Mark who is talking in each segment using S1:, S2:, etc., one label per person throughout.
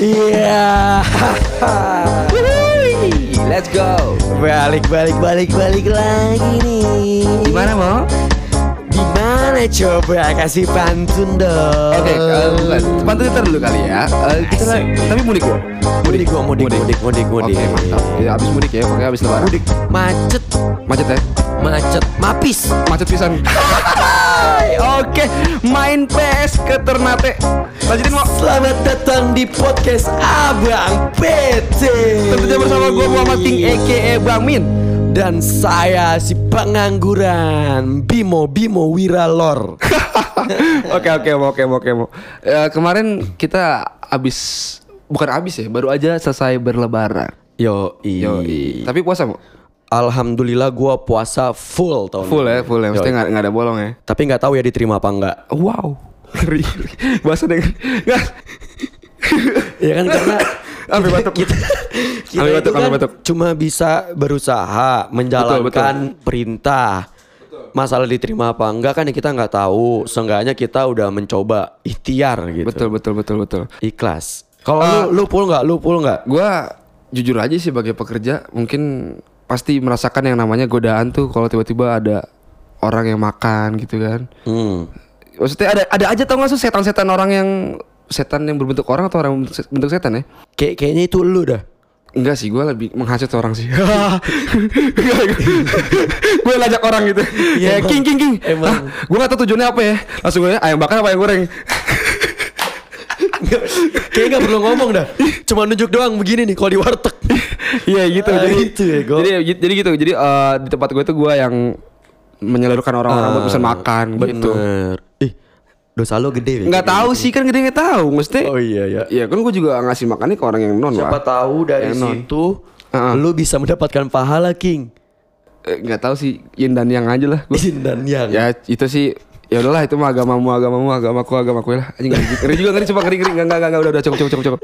S1: Iya.
S2: Let's go.
S1: balik balik balik balik lagi nih.
S2: Gimana mau?
S1: Gimana coba kasih pantun dong.
S2: Oke, kalau bukan. Pantun kita Eh, dulu kali ya. Eh, kita
S1: Asik.
S2: lagi- tapi mudik ya.
S1: Mudik gua mudik mudik mudik
S2: Oke,
S1: mudik.
S2: mantap. Ya, habis mudik ya, pokoknya habis lebaran.
S1: Mudik macet
S2: Macet ya?
S1: macet mapis.
S2: Macet pisan. Hai, Oke, main PS ke Ternate. Lanjutin mau.
S1: Selamat datang di podcast Abang PT.
S2: Tentunya bersama gue Muhammad King EKE Bang Min.
S1: dan saya si pengangguran Bimo Bimo Wiralor.
S2: Oke oke mau oke mau oke mau. Eh, kemarin kita abis bukan abis ya, baru aja selesai berlebaran.
S1: Yo,
S2: Yoi. Tapi puasa mau?
S1: Alhamdulillah gua puasa full tahun.
S2: Full
S1: ini.
S2: ya, full ya. Maksudnya
S1: Yoi.
S2: nggak nggak ada bolong ya.
S1: Tapi nggak tahu ya diterima apa enggak.
S2: Wow. Ngeri. Bahasa dengan nggak.
S1: Ya kan karena
S2: Ambil batuk.
S1: kita, kita
S2: Ambil
S1: itu
S2: batuk,
S1: kan
S2: ambil batuk.
S1: cuma bisa berusaha menjalankan perintah. Masalah diterima apa enggak kan ya kita nggak tahu. Seenggaknya kita udah mencoba ikhtiar gitu.
S2: Betul betul betul betul.
S1: Ikhlas. Ah. Kalau lu lu full nggak? Lu full nggak?
S2: Gua jujur aja sih sebagai pekerja mungkin pasti merasakan yang namanya godaan tuh kalau tiba-tiba ada orang yang makan gitu kan.
S1: Hmm.
S2: Maksudnya ada ada aja tau gak sih setan-setan orang yang setan yang berbentuk orang atau orang bentuk bentuk setan ya?
S1: Kayak kayaknya itu lu dah.
S2: Enggak sih, gue lebih menghasut orang sih. gue lajak orang gitu.
S1: Iya,
S2: Ya,
S1: emang.
S2: king king king.
S1: Emang.
S2: gue gak tau tujuannya apa ya. Langsung gue ayam bakar apa ayam goreng.
S1: Kayaknya nggak perlu ngomong dah. Cuma nunjuk doang begini nih kalau di warteg.
S2: Iya gitu.
S1: Ah,
S2: jadi,
S1: itu ya, Go.
S2: jadi jadi gitu. Jadi eh, di tempat gue tuh gue yang menyalurkan orang-orang buat pesan makan gitu.
S1: Ah, Bener. Ih, dosa lu gede. Bego.
S2: Nggak tahu sih kan gede nggak tahu. Maksudnya
S1: Oh iya ya.
S2: Ya kan gue juga ngasih makannya ke orang yang non
S1: Siapa
S2: lah.
S1: tahu dari
S2: Enon.
S1: situ
S2: Ah.
S1: lu bisa mendapatkan pahala King.
S2: Eh, Nggak tahu sih yin dan yang aja lah. Gua-
S1: Yin dan yang.
S2: ya itu sih ya udahlah itu mah agamamu agamamu agamaku agamaku ya lah anjing ngeri ngeri juga ngeri coba ngeri ngeri enggak enggak enggak udah udah cukup cukup cukup cukup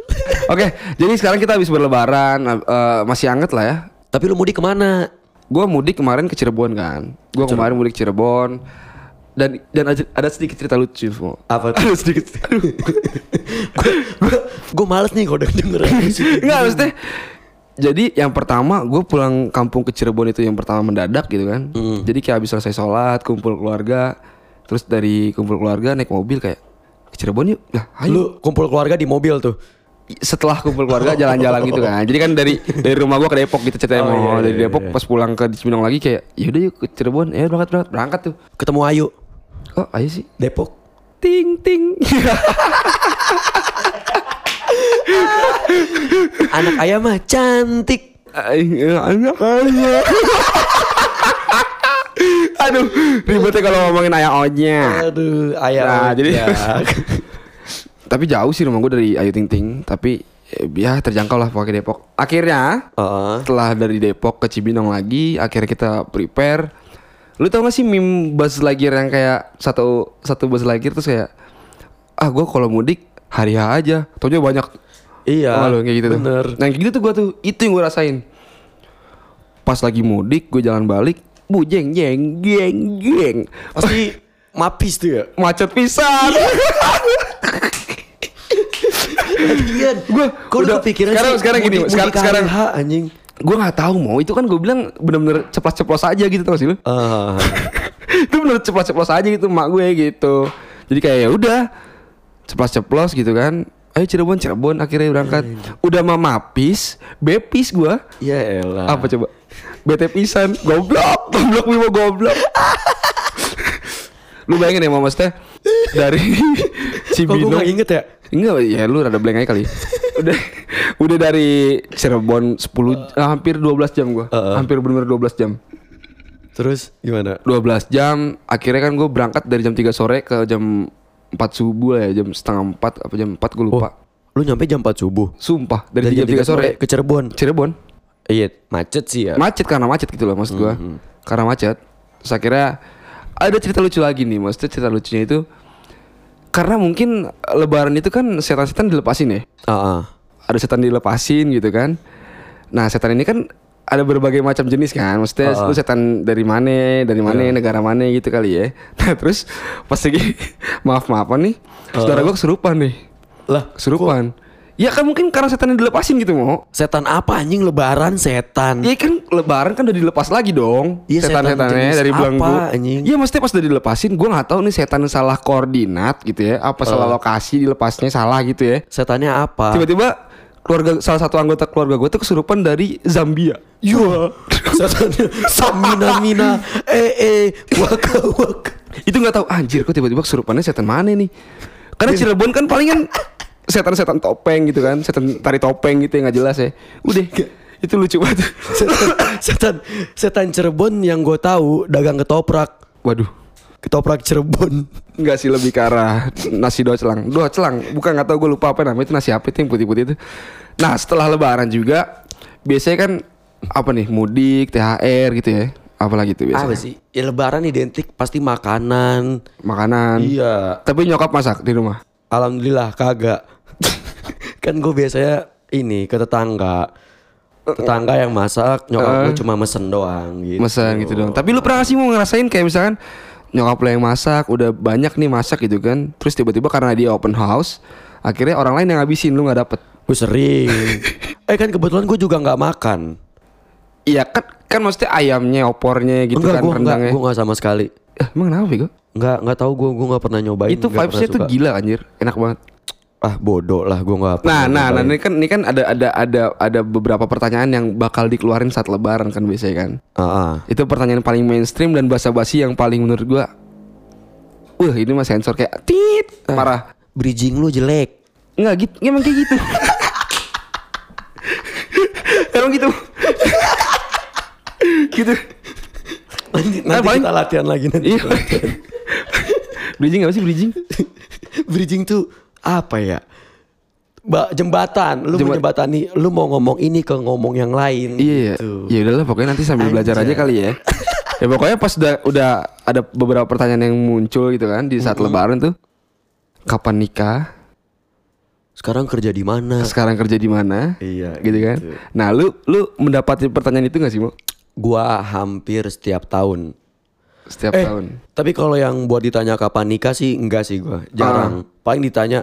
S2: oke jadi sekarang kita habis berlebaran eh, masih anget lah ya
S1: Tapi lu mudik kemana?
S2: gue mudik kemarin ke Cirebon kan gue kemarin mudik ke Cirebon dan dan ada- ada sedikit cerita lucu semua
S1: Apa tuh?
S2: ada sedikit aduh.
S1: gua, gua males nih kalau denger
S2: Enggak maksudnya jadi yang pertama gue pulang kampung ke Cirebon itu yang pertama mendadak gitu kan
S1: Hmm.
S2: Jadi kayak habis selesai sholat kumpul keluarga Terus dari kumpul keluarga naik mobil kayak ke Cirebon yuk Nah ayo
S1: Lu kumpul keluarga di mobil tuh.
S2: setelah kumpul keluarga jalan-jalan gitu kan Jadi kan dari dari rumah gue ke Depok gitu ceritanya
S1: Oh,
S2: mau
S1: iya,
S2: Dari Depok pas pulang ke Cibinong lagi kayak yaudah yuk ke Cirebon Ya berangkat berangkat berangkat tuh
S1: Ketemu Ayu
S2: Oh ayo sih
S1: Depok.
S2: Ting ting
S1: Anak ayah mah cantik.
S2: Anak aja Aduh ribetnya kalau ngomongin ayah onya
S1: Aduh, ayah.
S2: Nah, jadi-
S1: ojek.
S2: Tapi jauh sih rumah gue dari Ayu Ting Ting Tapi eh, ya terjangkau lah pakai Depok Akhirnya
S1: Heeh.
S2: setelah dari Depok ke Cibinong lagi Akhirnya kita prepare Lu tau gak sih meme Buzz Lightyear yang kayak Satu satu Buzz Lightyear terus kayak Ah gue kalau mudik hari H aja Taunya banyak
S1: Iya.
S2: Tau gak lu, kayak gitu tuh.
S1: bener.
S2: Nah kayak gitu tuh gue tuh Itu yang gue rasain Pas lagi mudik gue jalan balik Bu jeng jeng jeng jeng
S1: Pasti mapis tuh ya.
S2: Macet pisan
S1: Lagian,
S2: Gua-
S1: Iya. kok udah
S2: udah-
S1: kepikiran
S2: sekarang-
S1: sih
S2: sekarang gini,
S1: mudik-
S2: sekarang-
S1: mudik
S2: sekarang-
S1: hari H, anjing.
S2: gue nggak tahu mau itu kan gue bilang bener-bener ceplos-ceplos aja gitu tau gak sih lu
S1: Ah.
S2: itu bener ceplos-ceplos aja gitu mak gue gitu jadi kayak ya udah ceplos-ceplos gitu kan ayo Cirebon Cirebon akhirnya berangkat udah mah mapis bepis gue
S1: ya elah.
S2: apa coba bete pisan goblok goblok Bimo goblok lu bayangin ya mama teh dari
S1: Kok gue
S2: Cibinong
S1: gak inget ya?
S2: Enggak, ya lu rada blank aja kali. Udah udah dari Cirebon 10 ah, hampir 12 jam gua.
S1: Uh-uh.
S2: Hampir bener-bener 12 jam.
S1: Terus gimana?
S2: 12 jam akhirnya kan gue berangkat dari jam 3 sore ke jam 4 subuh lah ya, jam setengah 4 apa jam 4 gue lupa.
S1: Lu nyampe jam 4 subuh.
S2: Sumpah
S1: Dari
S2: dari, Oh. jam 3 sore
S1: ke Cirebon.
S2: Cirebon.
S1: Iya, macet sih ya.
S2: Macet karena macet gitu loh maksud gua. Karena macet. Terus akhirnya ada cerita lucu lagi nih, maksudnya cerita lucunya itu karena mungkin lebaran itu kan setan-setan dilepasin ya.
S1: Ah, ah.
S2: ada setan dilepasin gitu kan. Nah, setan ini kan ada berbagai macam jenis kan. Maksudnya lu setan dari mana, dari mana, negara mana gitu kali ya. Nah, terus pas lagi maaf-maafan nih, saudara gua kesurupan nih.
S1: Lah,
S2: Kesurupan. Ya kan mungkin karena setannya dilepasin gitu mau.
S1: Setan apa anjing lebaran setan.
S2: Ya kan lebaran kan udah dilepas lagi dong.
S1: Iya, setan
S2: setan-setannya
S1: jenis
S2: dari
S1: apa,
S2: belenggu.
S1: anjing?
S2: Iya maksudnya pas udah dilepasin gue nggak tahu nih setan salah koordinat gitu ya. Apa
S1: Eh.
S2: salah lokasi dilepasnya salah gitu ya.
S1: Setannya apa?
S2: Tiba-tiba keluarga salah satu anggota keluarga gue tuh kesurupan dari Zambia. Iya.
S1: Setannya samina mina eh eh waka waka.
S2: itu nggak tahu anjir kok tiba-tiba kesurupannya setan mana nih karena
S1: Iya.
S2: Cirebon kan palingan setan-setan topeng gitu kan setan tari topeng gitu yang nggak jelas ya udah
S1: Iya.
S2: itu lucu banget
S1: Setan, setan setan Cirebon yang gue tahu dagang ketoprak.
S2: waduh
S1: Ketoprak Cirebon.
S2: Enggak sih lebih ke arah nasi doa celang Doa celang Bukan nggak tahu gue lupa apa namanya Itu nasi apa itu yang putih-putih itu Nah setelah lebaran juga Biasanya kan Apa nih Mudik THR gitu ya Apalagi itu biasanya
S1: Apa sih? Ya lebaran identik pasti makanan.
S2: Makanan
S1: Iya.
S2: Tapi nyokap masak di rumah
S1: Alhamdulillah kagak. kan gue biasanya ini ke tetangga.
S2: Eh,
S1: Tetangga yang masak, nyokap gue cuma mesen doang gitu.
S2: Mesen gitu dong. Tapi lu pernah gak sih mau ngerasain kayak misalkan nyokap lo yang masak, udah banyak nih masak gitu kan. Terus tiba-tiba karena dia open house, akhirnya orang lain yang ngabisin lu nggak dapet.
S1: Gue sering. eh kan kebetulan gue juga nggak makan.
S2: Iya kan kan maksudnya ayamnya, opornya gitu
S1: enggak,
S2: kan
S1: gue enggak,
S2: rendangnya.
S1: gue enggak sama sekali.
S2: Eh, emang kenapa Bego?
S1: Enggak, enggak tahu gue, gue enggak pernah nyobain. nggak
S2: Itu
S1: pernah
S2: vibesnya tuh
S1: suka.
S2: gila anjir, enak banget.
S1: Ah bodoh lah, gue enggak.
S2: Nah, nah, nah
S1: nyobain.
S2: ini kan ini kan ada ada ada ada beberapa pertanyaan yang bakal dikeluarin saat lebaran kan biasanya kan.
S1: Ah, ah.
S2: Itu pertanyaan paling mainstream dan basa-basi yang paling menurut gua Wah, ini mah sensor kayak tit parah.
S1: Bridging lu jelek.
S2: Enggak gitu, emang kayak gitu. emang gitu. gitu.
S1: Nanti,
S2: Nah,
S1: nanti
S2: paling-
S1: kita latihan lagi nanti.
S2: Iya. bridging apa sih bridging?
S1: bridging tuh apa ya? Ba jembatan, lu
S2: Jemba-
S1: menjembatani, lu mau ngomong ini ke ngomong yang lain.
S2: Iya, iya.
S1: gitu.
S2: Ya udahlah pokoknya nanti sambil belajar aja
S1: Anjay.
S2: kali ya. Ya pokoknya pas udah udah ada beberapa pertanyaan yang muncul gitu kan di saat lebaran tuh. Kapan nikah?
S1: Sekarang kerja di mana?
S2: Sekarang kerja di mana?
S1: Iya,
S2: gitu kan.
S1: gitu.
S2: Nah, lu lu mendapati pertanyaan itu gak sih, Mo?
S1: Gua hampir setiap tahun.
S2: Setiap
S1: Eh,
S2: tahun.
S1: Tapi kalau yang buat ditanya kapan nikah sih enggak sih gua, jarang.
S2: Ah.
S1: Paling ditanya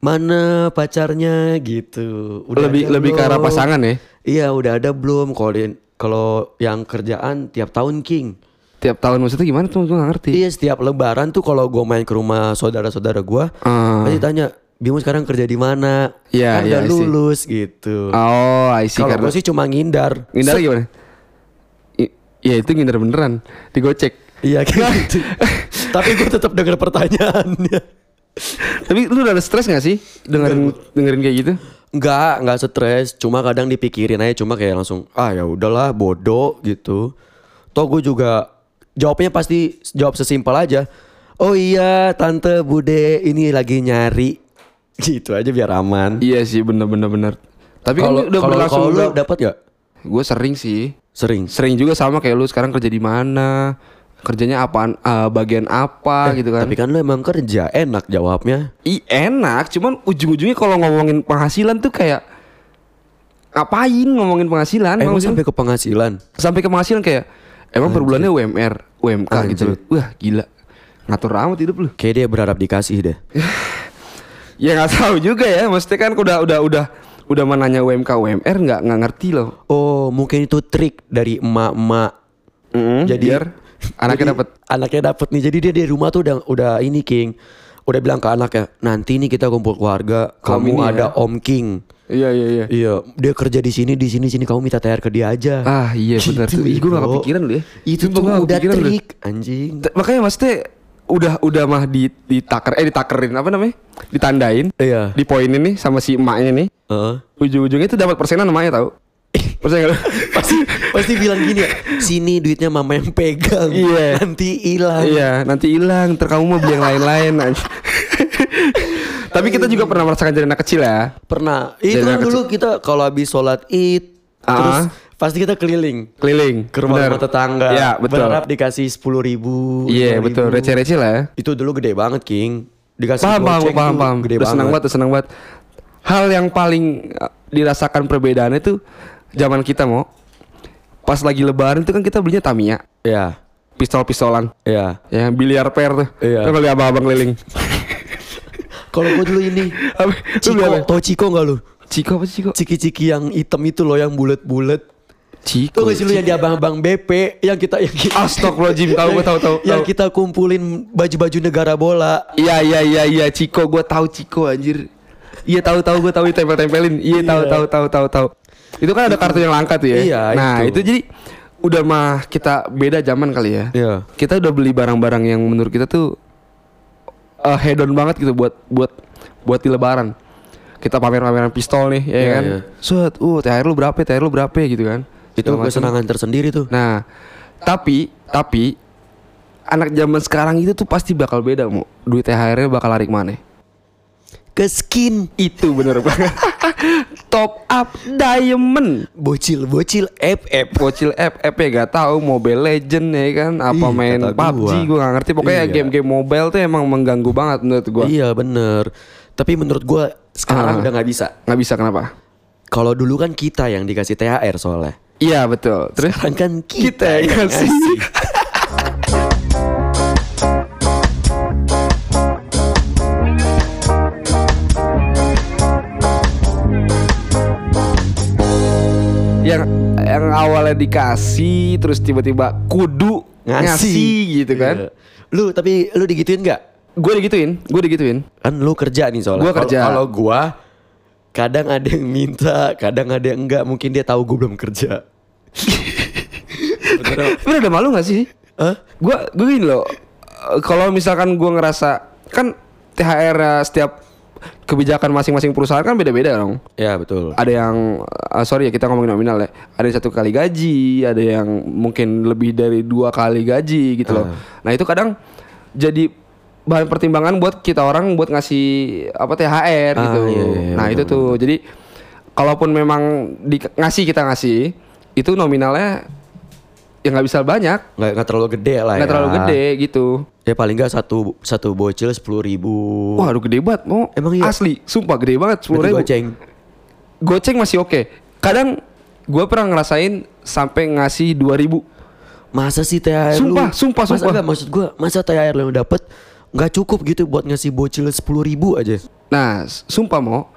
S1: mana pacarnya gitu.
S2: lebih
S1: ada
S2: lebih ke arah
S1: belum?
S2: pasangan ya.
S1: Iya, udah ada belum? Kalau di- kalau yang kerjaan tiap tahun king.
S2: Tiap tahun maksudnya gimana tuh gue gak ngerti.
S1: Iya setiap lebaran tuh kalau gue main ke rumah saudara-saudara gue
S2: Ah.
S1: Pasti tanya Bimo sekarang kerja di mana
S2: Iya,
S1: Kan
S2: iya,
S1: udah
S2: I see.
S1: lulus gitu
S2: Oh, I see
S1: Kalau
S2: karena
S1: gue sih cuma ngindar ya?
S2: Ngindar gimana? I- ya itu ngindar beneran Digocek
S1: Iya kayak gitu Tapi gue tetap denger pertanyaannya
S2: Tapi lu udah ada stres gak sih? Dengerin, dengerin kayak gitu?
S1: Enggak, enggak stres Cuma kadang dipikirin aja Cuma kayak langsung Ah ya udahlah bodoh gitu Toh gue juga Jawabnya pasti jawab sesimpel aja Oh iya tante bude ini lagi nyari Gitu aja biar aman
S2: Iya sih bener-bener bener Tapi kan
S1: Kalau
S2: lu udah
S1: kalau-
S2: berlangsung
S1: kalau lu
S2: udah-
S1: dapat gak?
S2: Gue sering sih
S1: Sering.
S2: Sering juga sama kayak lu sekarang kerja di mana Kerjanya apaan eh, Bagian apa gitu kan
S1: Tapi kan lu emang kerja enak jawabnya.
S2: I, enak cuman ujung-ujungnya kalau ngomongin penghasilan tuh kayak Ngapain ngomongin penghasilan
S1: Emang
S2: Ngomongin-
S1: Eh, sampai ke penghasilan.
S2: sampai ke penghasilan kayak emang per bulannya UMR, UMK gitu loh. Wah, gila. Ngatur amat hidup lu.
S1: Kayak dia berharap dikasih deh.
S2: Ya nggak tahu juga ya, maksudnya kan udah udah udah udah mau nanya UMK UMR nggak nggak ngerti loh.
S1: Oh, mungkin itu trik dari emak-emak.
S2: Jadi biar
S1: Jadi,
S2: anaknya dapat
S1: Anaknya dapat nih. Jadi dia di rumah tuh udah udah ini King. Udah bilang ke anaknya, nanti nih kita kumpul keluarga, kamu
S2: ini ya."
S1: ada Om King.
S2: Iya iya iya.
S1: Iya, dia kerja di sini, di sini, sini kamu minta THR ke dia aja.
S2: Ah iya benar tuh. Ih, gua nggak
S1: bro.
S2: kepikiran lu ya.
S1: Itu
S2: Sumpah,
S1: tuh
S2: gua nggak
S1: udah
S2: kepikiran lu.
S1: trik, anjing.
S2: T- Makanya maksudnya udah udah mah di ditaker eh ditakerin apa namanya? Ditandain.
S1: Iya.
S2: Dipoinin nih sama si emaknya nih.
S1: Heeh.
S2: Ujung-ujungnya tuh dapat persenan emaknya tahu. Persen nggak lu?
S1: pasti pasti bilang gini ya sini duitnya mama yang pegang
S2: Iya.
S1: nanti hilang
S2: Iya, nanti hilang. Ntar kamu mau beli yang lain-lain. anj- Tapi kita juga pernah merasakan jadi anak kecil ya.
S1: pernah itu
S2: Dari
S1: kan
S2: anak
S1: dulu kita kalau habis sholat id
S2: Ah.
S1: terus pasti kita keliling
S2: Keliling.
S1: ke rumah rumah
S2: Bener.
S1: tetangga
S2: Iya, betul.
S1: berharap dikasih sepuluh ribu
S2: Iya, betul. Receh-receh lah ya.
S1: itu dulu gede banget king dikasih
S2: Paham, paham,
S1: goceng
S2: paham,
S1: tuh
S2: paham.
S1: gede
S2: Udah senang banget, udah senang banget. Hal yang paling eh, dirasakan perbedaannya tuh zaman kita mau pas lagi lebaran tuh kan kita belinya Tamiya,
S1: ya
S2: pistol-pistolan,
S1: ya
S2: ya biliar per tuh.
S1: Iya.
S2: Terus beli abang-abang keliling.
S1: Kalau gue dulu ini
S2: Apa? Lu
S1: Ciko,
S2: beli apa?
S1: tau Ciko gak lu?
S2: Ciko apa sih Ciko?
S1: Ciki-ciki yang hitam itu loh yang bulat-bulat.
S2: Ciko.
S1: Tuh gak sih
S2: ya?
S1: lu yang di abang-abang BP yang kita yang kita,
S2: Astagfirullahaladzim, tahu gue tahu tahu.
S1: yang
S2: tahu.
S1: kita kumpulin baju-baju negara bola.
S2: Iya iya iya iya Ciko gue tahu Ciko anjir. Iya tahu tahu gue tahu tempel tempelin. Iya tahu
S1: Iya.
S2: tahu tahu tahu tahu. Itu kan ada kartu yang langka tuh ya.
S1: Iya,
S2: Nah
S1: itu.
S2: itu. jadi udah mah kita beda zaman kali ya.
S1: Iya.
S2: Kita udah beli barang-barang yang menurut kita tuh eh head on banget gitu buat buat buat di Lebaran. Kita pamer-pameran pistol nih, ya
S1: Iya,
S2: kan?
S1: iya.
S2: Suat, uh, THR lu berapa, THR lu berapa gitu kan?
S1: Itu
S2: Segala macam.
S1: kesenangan tersendiri tuh.
S2: Nah, tapi tapi anak zaman sekarang itu tuh pasti bakal beda mau duit THR-nya bakal lari mana?
S1: Ke skin
S2: Itu bener banget. Top up diamond.
S1: bocil-bocil FF.
S2: Bocil app, app ya gak tahu Mobile Legend ya kan Apa
S1: Ih,
S2: main
S1: kata
S2: PUBG
S1: gua.
S2: gue gak ngerti Pokoknya
S1: Iya.
S2: game-game mobile tuh emang mengganggu banget menurut gue
S1: Iya bener. Tapi menurut gue sekarang
S2: Ah.
S1: udah nggak bisa.
S2: Gak bisa kenapa
S1: Kalau dulu kan kita yang dikasih THR soalnya.
S2: Iya betul Terus
S1: Sekarang kan
S2: kita
S1: kita,
S2: yang ngasih yang yang awalnya dikasih terus tiba-tiba kudu ngasih, gitu kan
S1: Iya. Lu tapi lu digituin nggak?
S2: gue digituin gue digituin
S1: Kan lu kerja nih soalnya.
S2: Gua
S1: Kalau-
S2: kerja.
S1: Kalau gua kadang ada yang minta, kadang ada yang enggak. Mungkin dia tahu gua belum kerja. Beneran.
S2: tapi ada Eh, malu gak sih
S1: Hah?
S2: gue gue gini loh eh, kalau misalkan gue ngerasa kan THR -nya setiap kebijakan masing-masing perusahaan kan beda-beda dong
S1: Ya betul.
S2: ada yang eh, sorry ya kita ngomongin nominal ya ada yang satu kali gaji ada yang mungkin lebih dari dua kali gaji gitu loh
S1: Ah.
S2: nah itu kadang jadi bahan pertimbangan buat kita orang buat ngasih apa THR
S1: Ah,
S2: gitu
S1: iya, iya,
S2: nah itu tuh jadi kalaupun memang di, ngasih kita ngasih itu nominalnya ya nggak bisa banyak
S1: Nggak, nggak terlalu gede lah ya.
S2: nggak terlalu gede gitu
S1: Ya paling nggak satu satu bocil sepuluh ribu.
S2: Wah, aduh gede banget mau
S1: Emang iya?
S2: asli sumpah gede banget sepuluh
S1: Berarti
S2: ribu
S1: goceng.
S2: goceng masih oke kadang gue pernah ngerasain sampai ngasih 2000
S1: Masa sih THR
S2: Sumpah,
S1: lu?
S2: sumpah,
S1: Masa
S2: sumpah.
S1: nggak, maksud gua, masa THR lu yang dapet nggak cukup gitu buat ngasih bocil sepuluh ribu aja.
S2: nah s- sumpah mau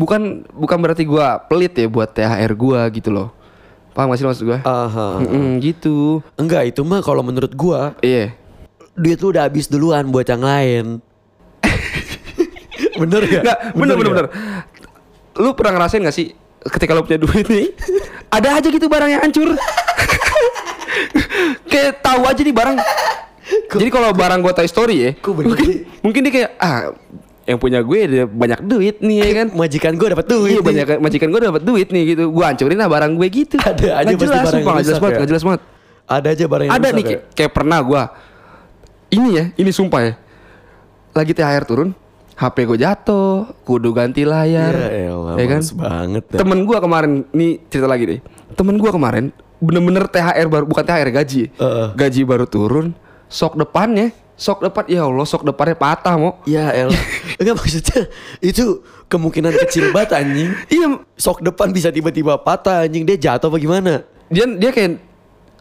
S2: bukan bukan berarti gue pelit ya buat THR gue gitu loh paham gak sih lo maksud gue
S1: Aha.
S2: gitu
S1: Enggak, itu mah kalau menurut gua
S2: iya
S1: duit lu udah habis duluan buat yang lain. bener ya? gak?
S2: Nggak, bener bener
S1: nggak?
S2: bener lu pernah ngerasain gak sih ketika lu punya duit nih ada aja gitu barang yang hancur kayak tahu aja nih barang jadi kalau barang gua Toy Story ya
S1: Kok bener
S2: mungkin
S1: sih?
S2: mungkin dia kayak ah yang punya gue dia banyak duit nih ya kan
S1: Majikan gua dapat duit.
S2: iya
S1: nih.
S2: banyak majikan gue dapat duit nih gitu gue hancurin lah barang gue gitu
S1: Ada aja
S2: Nggak
S1: pasti
S2: jelas
S1: barang
S2: sumpah
S1: yang
S2: nggak jelas
S1: rusak
S2: banget
S1: ya.
S2: nggak jelas banget
S1: Ada aja barang yang
S2: ada
S1: rusak
S2: nih
S1: ya?
S2: kayak, kayak pernah gue ini ya ini sumpah ya lagi THR turun HP gue jatuh kudu ganti layar
S1: Ya elah,
S2: ya kan
S1: males banget dah.
S2: temen gue kemarin nih cerita lagi deh temen gue kemarin bener-bener THR baru bukan THR gaji
S1: Heeh.
S2: gaji baru turun sok depannya sok depan ya Allah sok depannya patah mau
S1: Ya elah. Enggak maksudnya itu kemungkinan kecil banget anjing.
S2: iya
S1: Sok depan bisa tiba-tiba patah anjing dia jatuh apa gimana?
S2: dia dia kayak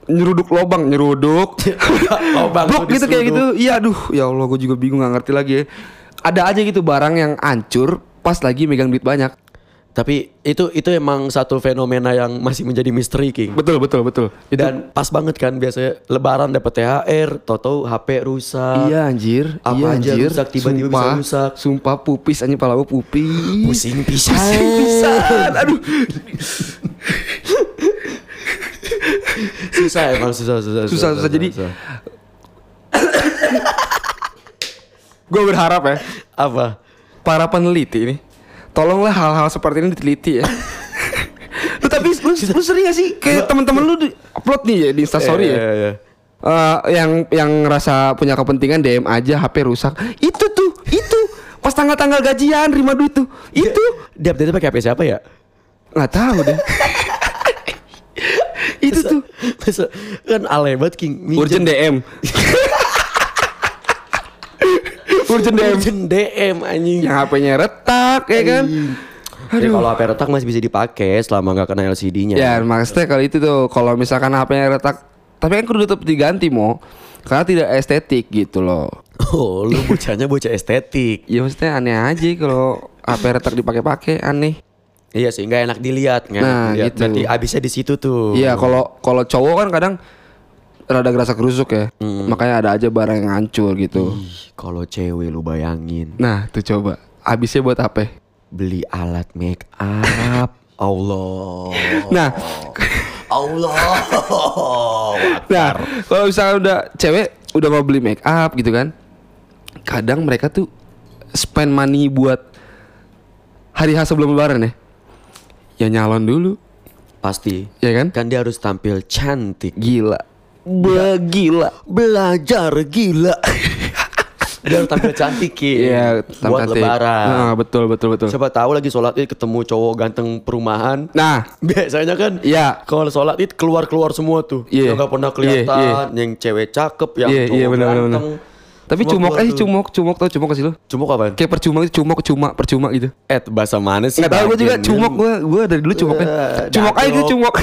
S2: nyeruduk lobang nyeruduk
S1: Iya. Lobang
S2: blok
S1: tuh
S2: gitu kayak gitu
S1: diseruduk.
S2: iya aduh ya allah gue juga bingung nggak ngerti lagi ya. ada aja gitu barang yang hancur pas lagi megang duit banyak
S1: Tapi itu itu emang satu fenomena yang masih menjadi misteri King.
S2: betul betul betul dan
S1: Dan pas banget kan biasanya lebaran dapat THR, toto HP rusak.
S2: iya anjir
S1: Apa
S2: iya
S1: aja
S2: anjir
S1: rusak, tiba-tiba bisa
S2: sumpah,
S1: rusak.
S2: sumpah pupis anjir pala gua pupis
S1: Pusing pisan.
S2: Pusing pisan aduh
S1: susah emang susah susah
S2: susah susah jadi gue berharap ya
S1: apa
S2: para peneliti ini tolonglah hal-hal seperti ini diteliti ya lu tapi lu, lu sering gak sih kayak teman-teman lu di- upload nih ya di instastory
S1: Eh,
S2: ya
S1: iya, iya.
S2: Eh, yang yang ngerasa punya kepentingan DM aja HP rusak itu tuh itu pas tanggal-tanggal gajian terima duit tuh itu
S1: dia update pakai HP siapa ya
S2: nggak tahu deh itu tuh
S1: Masa- kan alay banget King minjem-
S2: urgent DM urgent DM
S1: urgent DM anjing
S2: yang HP-nya retak ya kan
S1: Ya, kalau HP retak masih bisa dipakai selama nggak kena LCD-nya
S2: Ya maksudnya kalau itu tuh kalau misalkan HP-nya retak, tapi kan kudu tetap diganti mau karena tidak estetik gitu loh.
S1: Oh, lu bocahnya bocah estetik.
S2: Ya maksudnya aneh aja kalau HP retak dipakai-pakai aneh.
S1: Iya sih, nggak enak dilihat nggak
S2: Nah,
S1: enak dilihat.
S2: gitu.
S1: Berarti abisnya di situ tuh.
S2: Iya kalau kalau cowok kan kadang rada gerasa kerusuk ya. Makanya ada aja barang yang hancur gitu.
S1: Ih, Kalau cewek lu bayangin
S2: Nah tuh coba habisnya buat apa?
S1: beli alat make up, Allah,
S2: Nah
S1: Allah.
S2: nah kalau misalnya udah cewek udah mau beli make up gitu kan. Kadang mereka tuh spend money buat hari H sebelum lebaran ya. Ya nyalon dulu,
S1: Pasti.
S2: ya kan?
S1: Kan dia harus tampil cantik. Iya.
S2: Gila. Begila.
S1: Belajar gila. dia harus tampil cantik Ki.
S2: Iya,
S1: buat
S2: cantik.
S1: lebaran.
S2: Nah, betul betul betul.
S1: Siapa tahu lagi sholat id ketemu cowok ganteng perumahan.
S2: Nah,
S1: Biasanya kan
S2: Iya.
S1: Kalau sholat id keluar-keluar semua tuh
S2: Iya.
S1: Yang gak pernah
S2: Iya, iya.
S1: kelihatan Yang cewek cakep Yang
S2: Iya,
S1: cowok
S2: iya, benar, benar,
S1: Ya, ganteng
S2: tapi
S1: Semua
S2: cumok
S1: keluar
S2: eh
S1: tuh.
S2: cumok cumok tau cumok kasih lu.
S1: Cumuk apaan?
S2: Kayak percuma gitu, cumok cuma percuma gitu.
S1: Eh bahasa mana sih?
S2: Enggak tahu gue juga cumok gue gue dari dulu cumoknya.
S1: Eh,
S2: Cumok aja gitu
S1: daglok.
S2: cumok.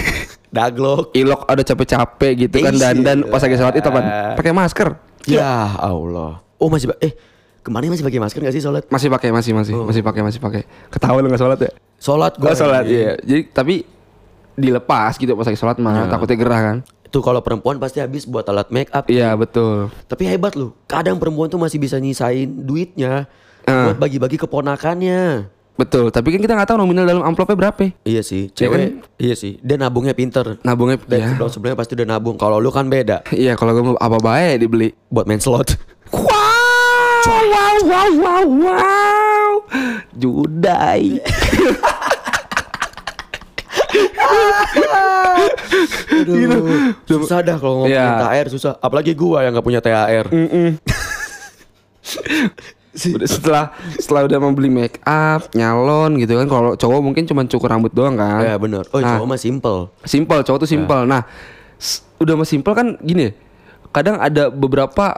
S1: Daglok
S2: Ilok ada capek-capek gitu
S1: Ih,
S2: kan dandan pas lagi sholat itu apaan? Eh. Pakai masker.
S1: Ya Allah Oh masih ba- Eh kemarin masih pakai masker gak sih sholat?
S2: Masih pakai masih masih masih pakai masih pakai. Ketawa lu enggak sholat ya?
S1: Sholat gue
S2: Oh. Gua sholat iya. Jadi tapi dilepas gitu pas lagi sholat mah takutnya gerah kan.
S1: Itu kalau perempuan pasti habis buat alat make up
S2: Iya betul.
S1: Tapi hebat loh Kadang perempuan tuh masih bisa nyisain duitnya
S2: Ah.
S1: Buat bagi-bagi keponakannya
S2: Betul, tapi kan kita nggak tahu nominal dalam amplopnya berapa.
S1: Iya
S2: Ya
S1: sih,
S2: kan?
S1: cewek. Iya sih, dia nabungnya pinter.
S2: Nabungnya
S1: Dan
S2: ya.
S1: sebelum sebelumnya pasti udah nabung. Kalau lu kan beda.
S2: Iya, kalau gue mau apa baik dibeli.
S1: Buat main slot.
S2: Wow, wow, wow, wow, wow. Judai.
S1: Aduh, Gitu. susah dah kalau ngomongin
S2: Iya. Mm.
S1: THR susah. Apalagi gua yang nggak punya THR.
S2: Udah setelah setelah udah membeli make up, nyalon gitu kan. Kalau cowok mungkin cuma cukur rambut doang kan.
S1: Ya bener. Iya. Oh,
S2: Nah.
S1: cowok mah simple.
S2: Simple, cowok tuh simple. Nah, s- udah mah simple kan gini. ya, Kadang ada beberapa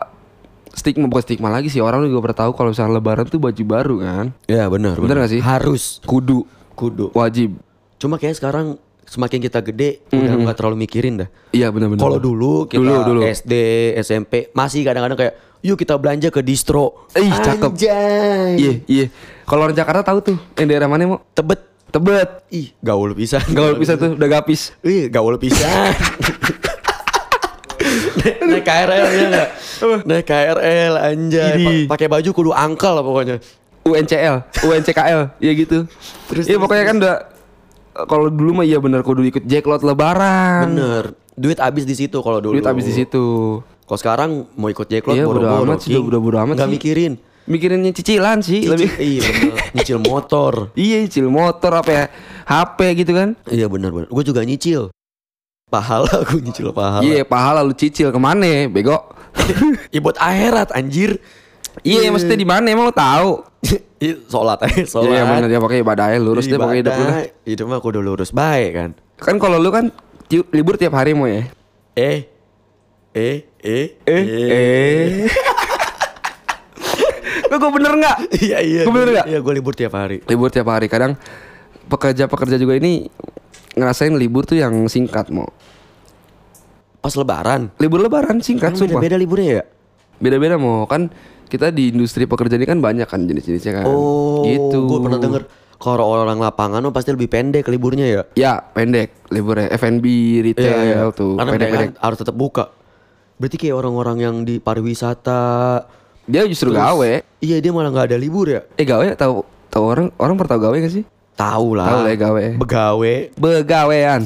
S2: stigma bukan stigma lagi sih orang juga pernah tahu kalau misalnya lebaran tuh baju baru kan.
S1: Ya bener.
S2: Bener nggak sih?
S1: Harus
S2: Kudu
S1: kudu.
S2: wajib.
S1: Cuma kayaknya sekarang semakin kita gede udah nggak terlalu mikirin dah.
S2: Iya benar-benar.
S1: Kalau dulu kita
S2: Dulu, dulu.
S1: SD, SMP masih kadang-kadang kayak yuk kita belanja ke distro.
S2: Ih, cakep.
S1: Anjay.
S2: Iya, iya. Kalau orang Jakarta tahu tuh, yang daerah mana mau?
S1: Tebet.
S2: Tebet.
S1: Ih, gaul pisan.
S2: Gaul bisa tuh, udah gapis.
S1: Ih, gaul pisan. Naik- Naik KRL ya enggak? Naik KRL anjay.
S2: Ini.
S1: Pa- Pakai baju kudu angkel lah pokoknya.
S2: UNCL, UNCKL, ya gitu.
S1: Terus,
S2: Iya pokoknya kan udah kalau dulu mah iya benar kudu ikut jackpot lebaran.
S1: Bener. Duit habis di situ kalau dulu.
S2: Kan. Duit habis di situ.
S1: Kalau sekarang mau ikut jackpot
S2: Iya, bodo
S1: boro-boro.
S2: amat sih,
S1: King.
S2: udah bodo amat
S1: Nggak
S2: sih.
S1: mikirin.
S2: Mikirinnya cicilan sih lebih.
S1: Cicil- Iya, bener. nyicil motor.
S2: Iya, cicil motor apa ya? HP gitu kan.
S1: Iya bener bener. Gue juga nyicil. Pahala gue nyicil pahala.
S2: Iya, pahala lu cicil kemana bego?
S1: Ya, buat akhirat anjir.
S2: Iya, maksudnya di mana emang lu tahu?
S1: Ih, sholat aja, sholat. Iya,
S2: Iya, benar ya pakai ibadah aja lurus deh pakai hidup lu. dah.
S1: Ibadah. Hidup mah kudu lurus baik kan.
S2: Kan kalau lu kan ti- libur tiap hari mau ya.
S1: Eh, eh, eh,
S2: Eh, eh. Lu gue bener nggak?
S1: Iya iya.
S2: Gua bener nggak?
S1: Iya gue libur tiap hari.
S2: Libur tiap hari kadang pekerja-pekerja juga ini ngerasain libur tuh yang singkat mau.
S1: Pas Lebaran.
S2: Libur lebaran singkat
S1: Kan
S2: sumpah.
S1: beda-beda liburnya ya.
S2: Beda-beda mau kan kita di industri pekerjaan ini kan banyak kan jenis-jenisnya kan. gitu.
S1: Gue Oh, pernah denger kalau orang lapangan mah pasti lebih pendek liburnya ya. Iya,
S2: Ya, pendek liburnya F&B, retail tuh
S1: Karena mereka
S2: pendek-pendek.
S1: harus tetap buka. Berarti kayak orang-orang yang di pariwisata.
S2: Dia justru gawe.
S1: Iya dia malah nggak ada libur ya.
S2: Eh gawe tahu tahu orang orang pernah tahu gawe gak sih?
S1: Tahu lah.
S2: Tahu lah ya, gawe.
S1: Begawe.
S2: Begawean.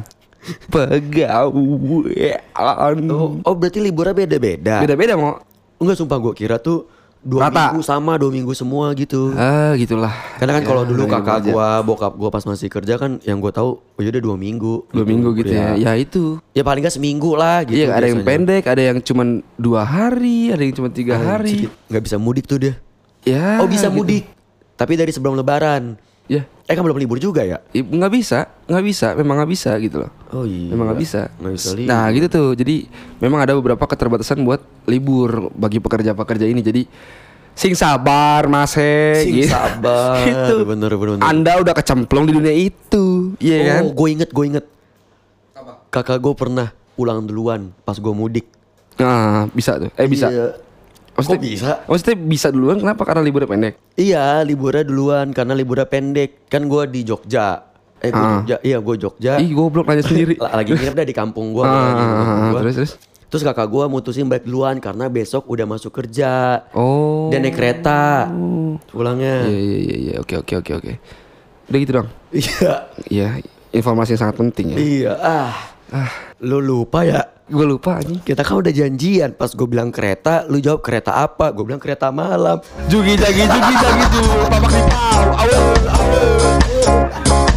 S2: Begawean.
S1: Oh, oh, berarti liburnya beda-beda.
S2: Beda-beda mau.
S1: Enggak sumpah gue kira tuh dua
S2: Rata.
S1: minggu sama dua minggu semua gitu.
S2: Ah, gitulah. Ya, gitu.
S1: Karena kan kalau dulu
S2: namanya
S1: kakak
S2: kerja.
S1: gua, bokap gua pas masih kerja kan yang gua tahu oh yaudah dua minggu.
S2: dua minggu gitu ya. Ya itu.
S1: Ya paling gak seminggu lah gitu.
S2: Iya, ada yang
S1: biasanya.
S2: pendek, ada yang cuman dua hari, ada yang cuma tiga hari.
S1: Sedikit. Nggak bisa mudik tuh dia.
S2: Ya.
S1: oh bisa
S2: gitu.
S1: mudik. Tapi dari sebelum lebaran.
S2: Ya,
S1: Eh kan belum libur juga ya?
S2: i- nggak bisa, nggak bisa, memang nggak bisa gitu loh.
S1: Oh iya.
S2: Memang nggak bisa.
S1: Nggak bisa libur.
S2: Nah gitu tuh. Jadi memang ada beberapa keterbatasan buat libur bagi pekerja-pekerja ini. Jadi sing sabar mas he.
S1: Sing sabar.
S2: gitu.
S1: Bener, bener, bener.
S2: Anda udah kecemplung di dunia itu, iya
S1: Oh
S2: kan?
S1: gue inget, gue inget. Kakak gue pernah pulang duluan pas gue mudik.
S2: Nah bisa tuh. Eh bisa.
S1: Iya. Kok bisa?
S2: Maksudnya bisa duluan kenapa? Karena liburnya pendek.
S1: Iya, liburnya duluan karena liburnya pendek. Kan gua di Jogja. Eh, gua
S2: Ah.
S1: Jogja. Iya, gua Jogja.
S2: Ih goblok nanya sendiri.
S1: L- Lagi nginep dah di kampung gua. gua
S2: Ah,
S1: lagi di kampung
S2: ah, ah,
S1: gua.
S2: terus terus.
S1: Terus kakak gua mutusin balik duluan karena besok udah masuk kerja.
S2: Oh.
S1: Dan naik kereta. Pulangnya.
S2: Iya iya iya iya. oke oke oke oke. Udah gitu dong.
S1: Iya.
S2: Iya, informasi yang sangat penting ya.
S1: Iya. Ah. Lu lupa ya?
S2: Gue lupa anjing.
S1: Kita kan udah janjian pas gue bilang kereta, lu jawab kereta apa? Gue bilang kereta malam.
S2: Jugi jagi jugi jagi ju. Papa kasih tahu. Awal awal.